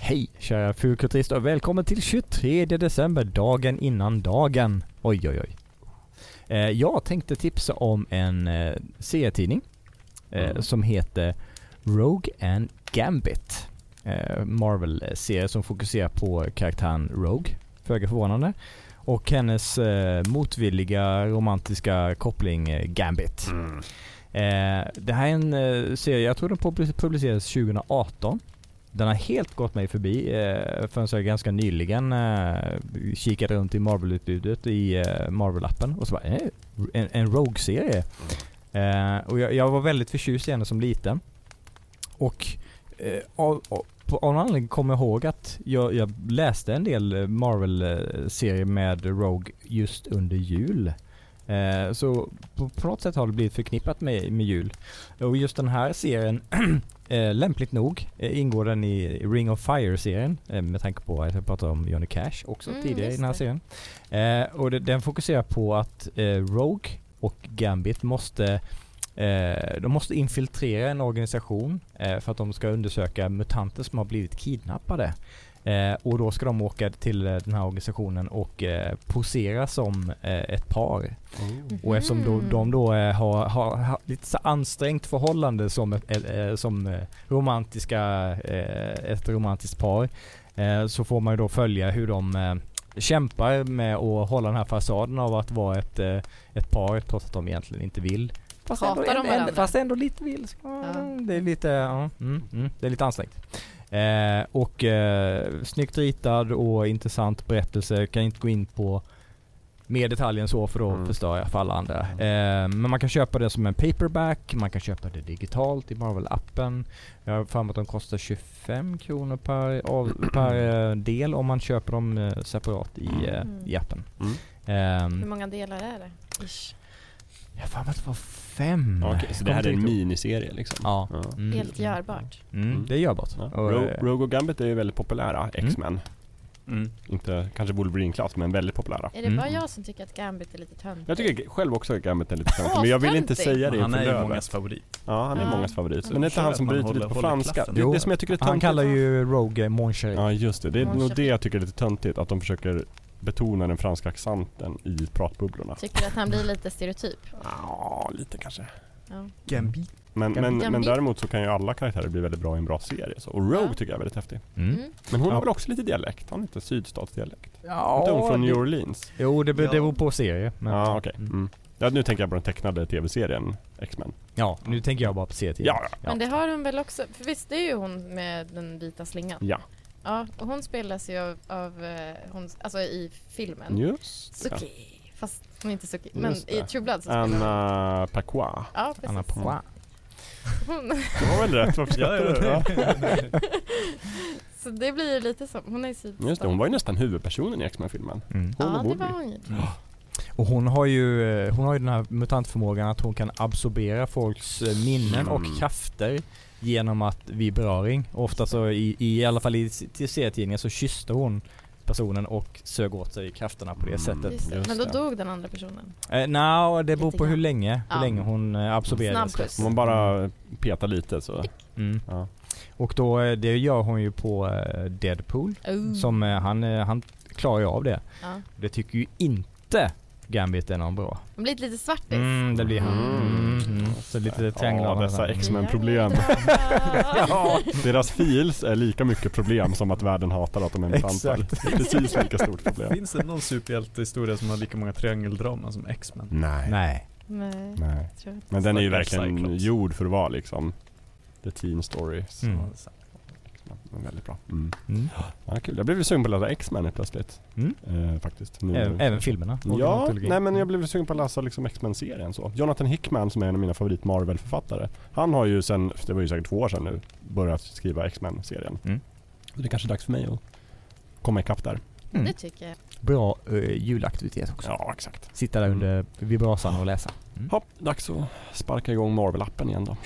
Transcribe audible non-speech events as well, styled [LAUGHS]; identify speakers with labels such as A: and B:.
A: Hej kära fulkulturister och välkommen till 23 december, dagen innan dagen. Oj oj oj. Eh, jag tänkte tipsa om en eh, serietidning eh,
B: Mm.
A: som heter Rogue and Gambit. Eh, Marvel-serie som fokuserar på karaktären Rogue, föga förvånande. Och hennes eh, motvilliga romantiska koppling eh, Gambit.
B: Mm.
A: Eh, det här är en eh, serie, jag tror den publi- publicerades 2018. Den har helt gått mig förbi eh, förrän jag ganska nyligen eh, kikade runt i Marvel-utbudet i eh, Marvel-appen och så bara eh, en, en Rogue-serie. Eh, och jag, jag var väldigt förtjust i henne som liten. Och eh, av, av, på- av någon anledning kommer jag ihåg att jag, jag läste en del eh, Marvel-serier med Rogue just under jul. Eh, så på, på något sätt har det blivit förknippat med, med jul. Och just den här serien, [CLEARS THROAT] eh, lämpligt nog, eh, ingår den i Ring of Fire-serien. Eh, med tanke på att jag pratade om Johnny Cash också
C: Mm,
A: tidigare i
C: just
A: den här
C: det.
A: serien. Eh, och det, den fokuserar på att eh, Rogue och Gambit måste Eh, de måste infiltrera en organisation eh, för att de ska undersöka mutanter som har blivit kidnappade. Eh, och då ska de åka till eh, den här organisationen och eh, posera som eh, ett par.
B: Mm.
A: Och eftersom då,
C: Mhm.
A: de då eh, har, har, har lite så ansträngt förhållande som, ett, eh, eh, som eh, romantiska, eh, ett romantiskt par eh, så får man ju då följa hur de eh, kämpar med att hålla den här fasaden av att vara ett, eh, ett par trots att de egentligen inte vill. Fast ändå,
C: Hatar de
A: ändå-
C: varandra?
A: fast ändå lite vill. Så, eh,
C: Ja.
A: Det är lite, ja, mm, mm, det är lite ansträngt. Eh, och eh, snyggt ritad och intressant berättelse. Jag kan inte gå in på mer detaljer än så för då
B: Mm.
A: förstör jag för alla andra. Eh, men man kan köpa det som en paperback, man kan köpa det digitalt i Marvel-appen. Jag har för mig att de kostar 25 kronor per, av, per eh, del om man köper dem eh, separat i, eh,
C: Mm.
A: i appen.
B: Mm. Mm.
C: Hur
A: Ehm,
C: många delar är det? Ish.
A: jag har för mig att det var fem.
B: Ja, okej, så det
A: Kommer
B: här är en
A: inte riktigt ihåg.
B: miniserie liksom?
A: Ja.
B: Ja.
A: Mm.
C: Helt görbart.
A: Mm,
B: Mm.
A: Det är görbart.
B: Ja.
A: Och,
B: Ro-
A: eh,
B: Rogue och Gambit är ju väldigt populära, X-Men.
A: mm.
B: Inte kanske Wolverine-klass, men väldigt populära.
C: Är det
A: Mm.
C: bara jag som tycker att Gambit är lite töntig?
B: Jag tycker själv också att Gambit är lite töntig, men jag vill inte
C: Astöntig.
B: säga det
D: Han är
B: inför
D: ju
B: Lövet.
D: mångas favorit.
B: Ja, han är
C: Ja.
B: mångas favorit.
C: Ja.
B: Men det är inte han som
D: Man
B: bryter lite
D: håller-
B: på
D: håller
B: franska.
D: klaffen.
B: Det är
A: Jo.
B: det som jag tycker är
A: Han
B: töntigt.
A: kallar ju Rogue eh, Mon Chéri.
B: Ja, just det. Det är
C: Man
B: nog
C: köper-
B: det jag tycker är lite töntigt. Att de försöker betona den franska accenten i pratbubblorna.
C: Tycker att han blir lite stereotyp?
B: Ja, lite kanske.
C: Ja.
B: Mm.
D: Gambit.
B: Men, men,
C: Ja,
B: men
C: vi-
B: däremot så kan ju alla karaktärer bli väldigt bra i en bra serie. Så. Och Rogue
C: Ja.
B: tycker jag är väldigt häftig.
A: Mm.
C: Mm.
B: Men hon
A: Ja.
B: har väl också lite dialekt? Har hon inte sydstatsdialekt?
A: Ja,
B: inte hon från
A: det-
B: New Orleans?
A: Jo, det, be- det
D: Ja.
A: beror på serie. Men,
B: Ja, okej.
A: Mm.
B: Mm. Ja, nu tänker jag på den tecknade tv-serien X-Men.
A: ja, nu tänker jag bara på serietidning.
B: Ja, ja.
C: Men det har hon väl också? För visst, det är ju hon med den vita slingan.
B: Ja,
C: Ja, och hon spelas ju av, av eh, hon, alltså i filmen.
A: Mm.
B: just det.
C: Suki. Fast hon är inte Suki. Men
B: Just
C: i
B: det.
C: True Blood så spelar hon.
B: Anna Pacois.
C: Ja, precis.
A: Anna Poa.
C: [LAUGHS] Hon,
B: Det var väl rätt? Varför
D: [LAUGHS] Ja,
B: skrattar du?
D: ja.
B: Ja.
C: så det blir ju lite som, hon är ju sydstat.
B: Just det, hon var ju nästan huvudpersonen i X-Men-filmen.
A: Mm.
B: hon
C: Ja,
B: och
C: det
B: Wolverine.
C: var hon ju.
A: Och hon har ju eh, hon har ju den här mutantförmågan att hon kan absorbera folks eh, minnen och
B: Mm.
A: krafter genom att vid beröring. Ofta så i, i alla fall i s- till serietidningar så kysste hon personen och sög åt sig krafterna på det
B: Mm.
A: sättet.
C: Just det.
B: Just
C: Men då
B: det.
C: dog den andra personen.
A: Eh, Nja, det beror
C: Lite
A: på hur
C: grann.
A: länge, hur
C: Ja.
A: länge hon eh, absorberades.
C: Snabb puss.
B: Om man bara petar lite så.
A: Mm.
B: Ja.
A: Och då, eh, det gör hon ju på eh, Deadpool.
C: Oh.
A: Som eh, han, eh, han klarar ju av det.
C: Ja.
A: Det tycker ju inte Gambit är någon bra.
C: Hon blir lite svartis.
A: Mm, det blir han. Mm.
B: Mm.
A: Mm. Så lite
B: Ja,
A: trianglar.
B: dessa
A: Mm.
B: X-Men-problem.
C: [LAUGHS] ja.
B: Deras files är lika mycket problem som att världen hatar att de är mutanter. Precis lika stort problem.
D: [LAUGHS] Finns det någon superhjältehistoria som har lika många triangeldraman som X-Men?
B: Nej.
A: Nej.
C: Nej,
B: Nej.
C: jag tror inte.
B: Men den är ju
D: Stackars
B: verkligen
D: Cyclops.
B: gjord för att vara liksom The Teen Story. Så
A: Mm.
B: den är väldigt bra. Mm.
A: Mm.
B: Ja, kul. Jag blev ju sugen på att läsa X-Men helt plötsligt.
A: Mm.
B: Eh, faktiskt. Nu-
A: Även, även filmerna.
B: Ja,
A: Originaltrilogin.
B: nej men jag blev sugen på att läsa liksom X-Men-serien så. Jonathan Hickman som är en av mina favorit Marvel-författare. Han har ju sen, det var ju säkert två år sedan nu, börjat skriva X-Men-serien.
A: Mm.
B: Så det är kanske är dags för mig att komma ikapp där.
A: Mm.
C: Det tycker jag.
A: Bra eh, julaktivitet också.
B: Ja, exakt.
A: Mm. Sitta där under vid brasan och läsa.
B: Hopp, dags att sparka igång Marvel-appen igen då.